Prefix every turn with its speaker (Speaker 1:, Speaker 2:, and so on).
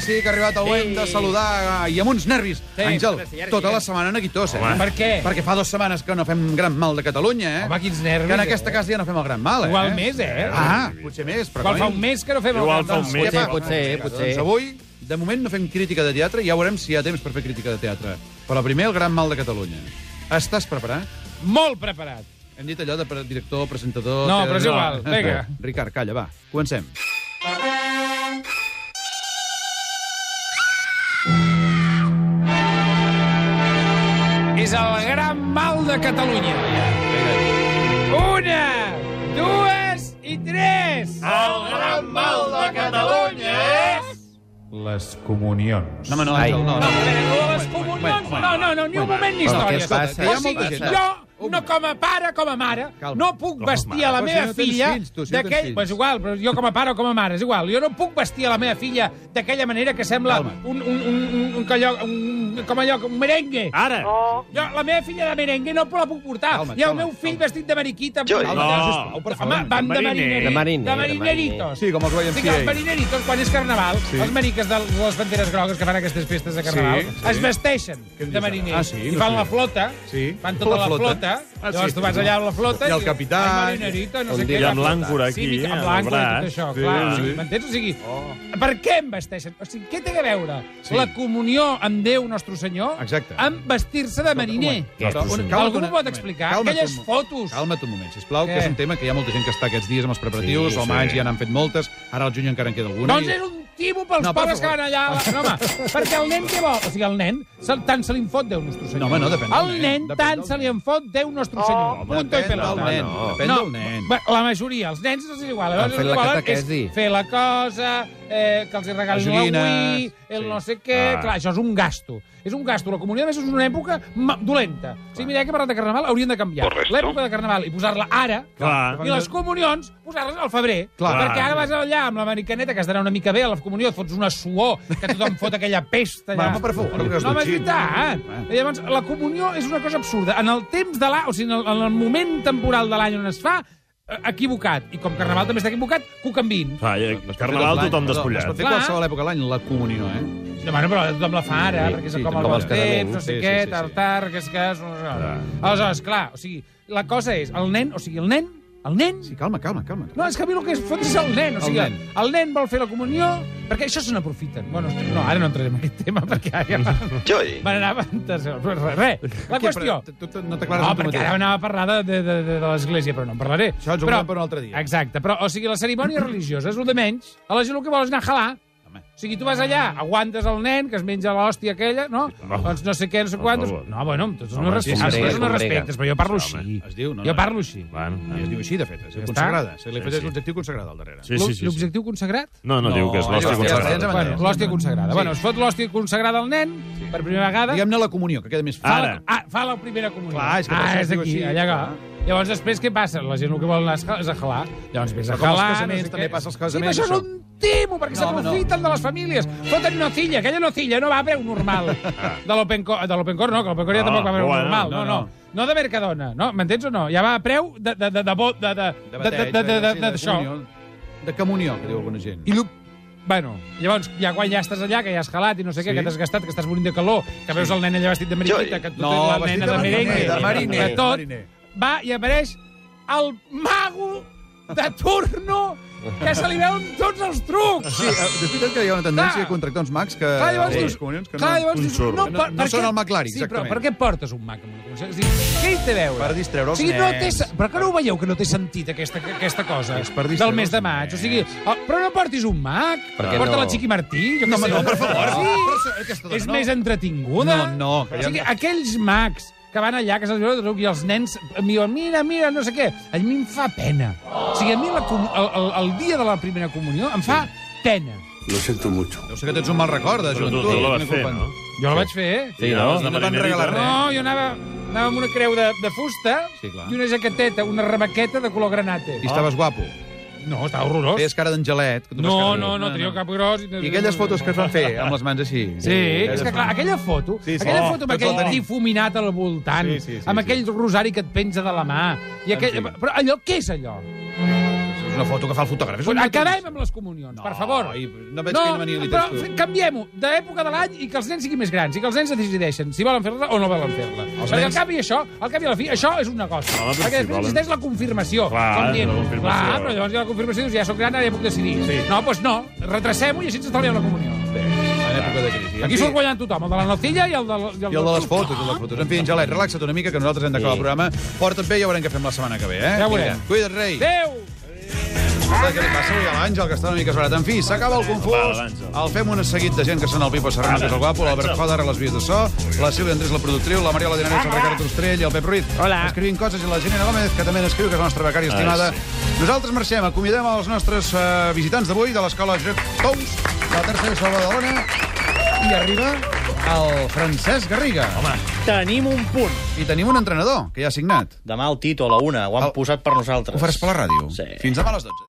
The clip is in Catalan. Speaker 1: sí, que ha arribat el
Speaker 2: Sí.
Speaker 1: sí. hem de saludar eh, i amb uns nervis.
Speaker 2: Sí,
Speaker 1: Sí, Àngel,
Speaker 2: però si ja-
Speaker 1: tota
Speaker 2: ja-
Speaker 1: la setmana neguitós, eh?
Speaker 3: Home.
Speaker 2: Per què?
Speaker 1: Perquè fa dues setmanes que no fem gran mal de Catalunya, eh?
Speaker 2: Home, quins nervis,
Speaker 1: Que en
Speaker 2: eh?
Speaker 1: aquesta casa ja no fem el gran mal, eh?
Speaker 2: Igual més, eh?
Speaker 1: Ah, potser més, però...
Speaker 2: Igual fa
Speaker 1: com a
Speaker 2: un
Speaker 1: mínim-
Speaker 2: mes que no fem
Speaker 3: Igual
Speaker 2: el
Speaker 3: fa un
Speaker 2: Gandalf.
Speaker 3: mes.
Speaker 1: Potser,
Speaker 4: Potser, potser, potser.
Speaker 1: Doncs avui, de moment, no fem crítica de teatre, ja veurem si hi ha temps per fer crítica de teatre. Però primer, el gran mal de Catalunya. Estàs preparat?
Speaker 2: Molt preparat.
Speaker 1: Hem dit allò de pre- director, presentador...
Speaker 2: No,
Speaker 1: teatre-
Speaker 2: però és igual,
Speaker 1: No.
Speaker 2: vinga.
Speaker 1: Ricard, calla, va. Comencem.
Speaker 2: És el gran mal de Catalunya. Una, dues i tres. El gran mal de Catalunya és...
Speaker 5: Les comunions.
Speaker 1: No, home, no, Àngel, no,
Speaker 2: No,
Speaker 1: no.
Speaker 2: però les comunions... No, no, no, ni un moment ni
Speaker 4: Però què
Speaker 2: històries.
Speaker 4: passa?
Speaker 2: O
Speaker 4: Hi ha
Speaker 1: molta
Speaker 2: sigui,
Speaker 1: gent.
Speaker 2: jo,
Speaker 1: Un
Speaker 2: no
Speaker 1: moment.
Speaker 2: com a pare, com a mare,
Speaker 1: Calma.
Speaker 2: no puc vestir a la
Speaker 1: Però si
Speaker 2: meva
Speaker 1: no tens
Speaker 2: filla
Speaker 1: fills, tu, si no tens
Speaker 2: d'aquell...
Speaker 1: fills.
Speaker 2: Pues igual, però jo com a pare o com a mare, és igual. Jo no puc vestir a la meva filla d'aquella manera que sembla
Speaker 1: Calma.
Speaker 2: un, un, un, un, un, calló, un, com allò, un merengue.
Speaker 3: Ara!
Speaker 2: Jo, la meva filla de merengue no la puc portar.
Speaker 1: Ah. Calma,
Speaker 2: Hi ha el
Speaker 1: calma,
Speaker 2: meu fill
Speaker 1: calma.
Speaker 2: vestit de mariquita.
Speaker 3: No.
Speaker 1: sisplau, per favor.
Speaker 2: Home, van de
Speaker 3: De
Speaker 2: marineritos.
Speaker 3: mariner.
Speaker 4: De mariner,
Speaker 2: De
Speaker 4: de
Speaker 2: marineritos.
Speaker 1: Sí, com els Ryan
Speaker 2: Sí, que els
Speaker 1: P.A.
Speaker 2: marineritos, quan és carnaval, sí. els mariques de les banderes grogues que fan aquestes festes de carnaval,
Speaker 1: Sí,
Speaker 2: sí,
Speaker 1: sí.
Speaker 2: es vesteixen
Speaker 1: Què em
Speaker 2: de
Speaker 1: dius ara?
Speaker 2: mariners.
Speaker 1: Ah, sí?
Speaker 2: I
Speaker 1: No
Speaker 2: fan
Speaker 1: sé.
Speaker 2: la flota,
Speaker 1: Sí.
Speaker 2: fan tota
Speaker 1: La
Speaker 2: la
Speaker 1: flota.
Speaker 2: flota.
Speaker 1: Ah, sí.
Speaker 2: Llavors tu vas allà amb la flota...
Speaker 1: I el capità,
Speaker 2: Ai, marinerito, no
Speaker 4: Un
Speaker 2: sé
Speaker 4: dia
Speaker 2: què.
Speaker 3: I
Speaker 2: la
Speaker 3: amb
Speaker 2: flota.
Speaker 3: l'àncora
Speaker 2: Sí,
Speaker 3: aquí,
Speaker 2: mica- amb
Speaker 3: al
Speaker 2: l'àncora i tot
Speaker 3: braç.
Speaker 2: això,
Speaker 3: Sí,
Speaker 2: clar.
Speaker 3: sí.
Speaker 2: M'entens? O sigui, per què em vesteixen? O sigui, què té a veure
Speaker 1: Oh. Sí.
Speaker 2: la comunió amb Déu, Nostre Senyor,
Speaker 1: Exacte.
Speaker 2: amb vestir-se de mariner?
Speaker 1: Però un- calma't un
Speaker 2: Algú m'ho pot
Speaker 1: moment.
Speaker 2: explicar?
Speaker 1: Calma't
Speaker 2: Aquelles
Speaker 1: un moment.
Speaker 2: fotos.
Speaker 1: Calma't un moment, sisplau, que
Speaker 2: Què?
Speaker 1: és un tema que hi ha molta gent que està aquests dies amb els preparatius,
Speaker 4: Sí,
Speaker 1: al
Speaker 4: sí.
Speaker 1: maig ja n'han fet moltes, ara al juny encara en queda alguna.
Speaker 2: Doncs és un tibo pels
Speaker 1: No,
Speaker 2: no,
Speaker 1: per
Speaker 2: pobres que
Speaker 1: favor.
Speaker 2: van allà. a La... No, home, perquè el nen què vol? O sigui, el nen se, tant se li en fot Déu Nostre Senyor.
Speaker 1: No, home, no, depèn del
Speaker 2: El
Speaker 1: nen,
Speaker 2: nen
Speaker 1: depèn
Speaker 2: tant
Speaker 1: del
Speaker 2: se li
Speaker 1: nen.
Speaker 2: en fot Déu Nostre Senyor. Punto i
Speaker 1: depèn
Speaker 2: pelota.
Speaker 1: del nen, depèn
Speaker 2: no.
Speaker 1: del nen. Ah,
Speaker 2: Bé, la majoria, els nens no és igual.
Speaker 4: Van
Speaker 2: Els
Speaker 4: fent la
Speaker 2: igual
Speaker 4: catequesi.
Speaker 2: És fer la cosa, eh, que els hi regalin
Speaker 1: Les
Speaker 2: la
Speaker 1: joguines,
Speaker 2: Wii, el
Speaker 1: sí.
Speaker 2: no sé què...
Speaker 3: Ah.
Speaker 2: Clar, això és un gasto. És un gasto. La comunió, a més, és una època ma- dolenta. O sigui, mira, que he parlat de carnaval, haurien de canviar. L'època de carnaval i posar-la ara,
Speaker 3: Clar.
Speaker 2: i les comunions, posar-les al febrer.
Speaker 1: Clar.
Speaker 2: Perquè ara vas allà amb l'americaneta, que estarà una mica bé a la comunió, et fots una suor, que tothom fot aquella pesta allà.
Speaker 1: Va, home, per favor,
Speaker 2: No,
Speaker 1: que es
Speaker 2: no ah, és
Speaker 1: dutxin.
Speaker 2: veritat.
Speaker 1: Va.
Speaker 2: I llavors, la comunió és una cosa absurda. En el temps de l'any, o sigui, en el, en el moment temporal de l'any on es fa, eh, equivocat. I com Carnaval també està equivocat, que ho canviïn.
Speaker 3: Clar, i
Speaker 1: Es pot fer tot
Speaker 3: Carnaval
Speaker 1: l'any,
Speaker 3: tothom
Speaker 1: perdó, Es pot
Speaker 3: despullat.
Speaker 1: fer
Speaker 2: Clar.
Speaker 1: qualsevol època de l'any, la comunió, eh?
Speaker 2: No, bueno, però tothom la fa ara,
Speaker 1: Sí,
Speaker 2: perquè és
Speaker 1: sí,
Speaker 2: com
Speaker 1: també
Speaker 2: el bon
Speaker 1: els
Speaker 2: temps,
Speaker 1: casaments.
Speaker 2: no sé
Speaker 1: Sí, sí,
Speaker 2: què,
Speaker 1: sí,
Speaker 2: tar,
Speaker 1: sí.
Speaker 2: tar, que és que... és- Aleshores, clar, o sigui, la cosa és, el nen, o sigui, el nen, el nen,
Speaker 1: Sí, calma, calma, calma.
Speaker 2: No, és que a mi el que es fot és el nen. O
Speaker 1: El
Speaker 2: sigui, el
Speaker 1: nen.
Speaker 2: nen, el nen vol fer la comunió perquè això se n'aprofiten. Bueno, no, ara no entrarem en aquest tema perquè ara ja
Speaker 6: Joy.
Speaker 2: van anar a res, res. La
Speaker 1: Què,
Speaker 2: qüestió...
Speaker 1: però tu- tu No t'aclares
Speaker 2: No,
Speaker 1: amb tu
Speaker 2: perquè
Speaker 1: mateix.
Speaker 2: ara anava a parlar de, de, de, de l'església, però no en parlaré.
Speaker 1: Això ens ho
Speaker 2: però,
Speaker 1: guardem per un altre dia.
Speaker 2: Exacte, però, o sigui, la cerimònia religiosa és el de menys. A la gent el que vol és anar a halar.
Speaker 1: Home.
Speaker 2: O sigui, tu vas allà, aguantes el nen, que es menja l'hòstia aquella, no?
Speaker 3: home.
Speaker 2: Doncs no sé què, no sé
Speaker 3: Per
Speaker 2: quantos...
Speaker 3: favor.
Speaker 2: No, bueno, amb tots els
Speaker 3: Home,
Speaker 2: meus
Speaker 3: sí,
Speaker 2: respectes,
Speaker 4: combrega,
Speaker 2: els meus
Speaker 4: combrega.
Speaker 2: respectes, però jo parlo
Speaker 3: Sí, home,
Speaker 2: així.
Speaker 1: es diu, no, no,
Speaker 2: Jo parlo així.
Speaker 3: Van,
Speaker 1: I es diu així, de fet, es diu
Speaker 2: Ja
Speaker 1: consagrada. Se li
Speaker 3: Sí,
Speaker 1: afegeix
Speaker 3: sí.
Speaker 1: l'objectiu consagrada al darrere.
Speaker 3: Sí, sí, sí, sí.
Speaker 2: L'objectiu consagrat?
Speaker 3: No, no, diu que és
Speaker 1: No,
Speaker 3: l'hòstia
Speaker 1: ja està, ja
Speaker 3: consagrada.
Speaker 1: està, ja
Speaker 2: Bueno,
Speaker 1: ens
Speaker 2: és l'hòstia consagrada.
Speaker 1: Sí.
Speaker 2: Bueno, es fot l'hòstia consagrada al nen, per primera vegada.
Speaker 1: Diguem-ne la comunió, que queda més
Speaker 2: fa,
Speaker 1: fàcil.
Speaker 3: Ara.
Speaker 2: La, ah, fa la primera comunió.
Speaker 1: Clar, és que per
Speaker 2: ah,
Speaker 1: això es
Speaker 2: és
Speaker 1: diu
Speaker 2: aquí,
Speaker 1: així,
Speaker 2: allà.
Speaker 1: clar.
Speaker 2: Llavors, després, què passa? La gent el que vol anar és a- és a jalar. Llavors, vés a
Speaker 1: Però com els
Speaker 2: jalar,
Speaker 1: casaments,
Speaker 2: no sé
Speaker 1: també
Speaker 2: què.
Speaker 1: passa als casaments,
Speaker 2: Sí, però això
Speaker 1: això.
Speaker 2: és un timo,
Speaker 1: No, home,
Speaker 2: perquè
Speaker 1: no.
Speaker 2: s'aprofiten de les famílies. Foten nocilla, aquella nocilla no va a preu normal. De l'Opencor, de l'Opencor no, que l'Opencor ja
Speaker 3: No,
Speaker 2: tampoc va a preu
Speaker 3: bueno,
Speaker 2: normal. No,
Speaker 1: Ah. no,
Speaker 2: no.
Speaker 1: no.
Speaker 2: No de Mercadona, no? M'entens o no? Ja va a preu de... de, de, de, bo- de, de,
Speaker 1: De
Speaker 2: de, de,
Speaker 1: bateig,
Speaker 2: de, de, de,
Speaker 1: sí,
Speaker 2: de, d'això.
Speaker 1: comunió. De comunió, que diu alguna gent.
Speaker 2: I lo... Bueno, llavors, ja quan ja estàs allà, que ja has calat i no sé
Speaker 1: Sí.
Speaker 2: què,
Speaker 1: eh,
Speaker 2: que t'has gastat, que estàs morint de calor, que veus el nen allà vestit de mariquita,
Speaker 6: Jo-
Speaker 2: que tu
Speaker 1: No,
Speaker 2: tens la
Speaker 1: vestit
Speaker 2: nena
Speaker 1: de
Speaker 2: de
Speaker 1: mariner,
Speaker 2: merengue,
Speaker 1: de mariner,
Speaker 2: que tot,
Speaker 1: mariner.
Speaker 2: va i apareix el mago de turno que se li veuen tots els trucs.
Speaker 1: Sí, eh, de veritat que hi ha una tendència
Speaker 2: Clar.
Speaker 1: a contractar uns mags que...
Speaker 2: Clar, llavors
Speaker 1: Sí.
Speaker 2: dius...
Speaker 1: comunions que
Speaker 2: clar, llavors
Speaker 3: Un
Speaker 2: dius...
Speaker 3: xurro.
Speaker 1: No- no són el McLaren,
Speaker 2: sí, però
Speaker 1: exactament.
Speaker 2: per què portes un mac amb una comissió? És a dir, què hi té a veure?
Speaker 1: Per distreure els
Speaker 2: o sigui, no
Speaker 1: nens.
Speaker 2: té, se- però que no ho veieu, que no té sentit aquesta, aquesta cosa
Speaker 1: És per distreure
Speaker 2: del mes de
Speaker 1: els
Speaker 2: maig? O
Speaker 1: nens.
Speaker 2: sigui, el, però no portis un mac,
Speaker 4: Per què
Speaker 2: porta
Speaker 4: no?
Speaker 2: la Xiqui Martí, jo
Speaker 1: No,
Speaker 2: què
Speaker 1: home,
Speaker 2: sé.
Speaker 1: no, per favor. Però
Speaker 2: Sí,
Speaker 1: això- aquesta dona
Speaker 2: és
Speaker 1: no.
Speaker 2: més entretinguda.
Speaker 1: No, no, que
Speaker 2: O
Speaker 1: ja
Speaker 2: sigui,
Speaker 1: no.
Speaker 2: aquells macs que van allà, que se'ls veu de truc, i els nens em diuen, mira, mira, no sé què. A mi em fa pena. O sigui, a mi la, com- el, el, el dia de la primera comunió em fa pena.
Speaker 1: Deu ser que tens un mal record eh, de
Speaker 3: Però tu,
Speaker 1: joventut.
Speaker 3: tu la vas
Speaker 1: Quina
Speaker 3: fer,
Speaker 1: culpa.
Speaker 3: no?
Speaker 2: Jo la vaig fer, eh?
Speaker 4: Sí,
Speaker 3: Ja,
Speaker 4: no?
Speaker 3: els de
Speaker 1: No van
Speaker 3: Marinerito.
Speaker 1: regalar res.
Speaker 2: No, jo anava, anava amb una creu de, de fusta
Speaker 1: Sí, clar.
Speaker 2: i una jaqueteta, una rebaqueta de color granate.
Speaker 1: I
Speaker 3: Ah.
Speaker 1: estaves guapo.
Speaker 2: No, estava horrorós.
Speaker 1: Feies cara d'angelet. que tu fas
Speaker 2: No,
Speaker 1: cara de-
Speaker 2: no, no, tenia el cap gros.
Speaker 1: I aquelles fotos que es van fer, amb les mans així.
Speaker 2: Sí, és que clar, aquella foto,
Speaker 1: Sí,
Speaker 2: sí, sí.
Speaker 1: sí.
Speaker 2: aquella
Speaker 1: Oh,
Speaker 2: foto amb
Speaker 1: tots el
Speaker 2: aquell
Speaker 1: tenim.
Speaker 2: difuminat al voltant, sí, sí, sí, amb aquell rosari que et penja de la mà, i aquell...
Speaker 1: En fi.
Speaker 2: però allò, què és allò?
Speaker 1: És És una foto que fa el fotògraf. És un
Speaker 2: Acabem amb les comunions, per favor.
Speaker 1: Ai, no veig que venia
Speaker 2: però f- canviem-ho d'època de l'any i que els nens siguin més grans i que els nens decideixen si volen fer-la o no volen fer-la. Perquè
Speaker 1: nens-
Speaker 2: al cap i això, al cap i a la fi, això és un negoci.
Speaker 3: Home,
Speaker 2: perquè
Speaker 3: però si
Speaker 2: després
Speaker 3: volen-
Speaker 2: existeix la confirmació.
Speaker 3: Clar,
Speaker 2: Com dient,
Speaker 3: la confirmació.
Speaker 2: Clar, però llavors hi ha la confirmació i dius, ja sóc gran, ara ja puc decidir. No, doncs no, retracem-ho i així ens estalviem la comunió.
Speaker 1: Bé, en època de crisi.
Speaker 2: Aquí
Speaker 1: En fi,
Speaker 2: surt guanyant tothom, el de la nocilla i el de, i
Speaker 1: I el de les fotos, el de les fotos. En fi, Angelet, relaxa't una mica, que nosaltres hem d'acabar el programa. Porta't bé i ja veurem què fem la setmana que ve, eh?
Speaker 2: Ja veurem.
Speaker 1: Vinga, Cuida't, rei.
Speaker 2: Adéu!
Speaker 1: Escolta, Què li passa avui a l'Àngel, que està una mica esbarat? En fi, s'acaba el confús.
Speaker 3: Va, l'Àngel.
Speaker 1: El fem un seguit de gent que són el Pipo Serrano, que és el guapo, l'Albert Fadar, a les vies de so, la Sílvia Andrés, la productriu, la Mariola Dinarès, el Ricard Ostrell i el Pep Ruiz.
Speaker 2: Hola.
Speaker 1: Escrivint coses i la Gina Gómez, que també n'escriu, que és la nostra becària
Speaker 4: Ah,
Speaker 1: estimada. Nosaltres marxem, acomiadem els nostres eh, visitants d'avui de l'escola Josep Tous, de la tercera de Badalona, i arriba el Francesc Garriga.
Speaker 4: Home, tenim un punt.
Speaker 1: I tenim un entrenador, que ja ha signat.
Speaker 4: Demà el Tito a la una, ho han
Speaker 1: El-
Speaker 4: posat per nosaltres.
Speaker 1: Ho faràs per la ràdio?
Speaker 4: Sí.
Speaker 1: Fins demà a les 12.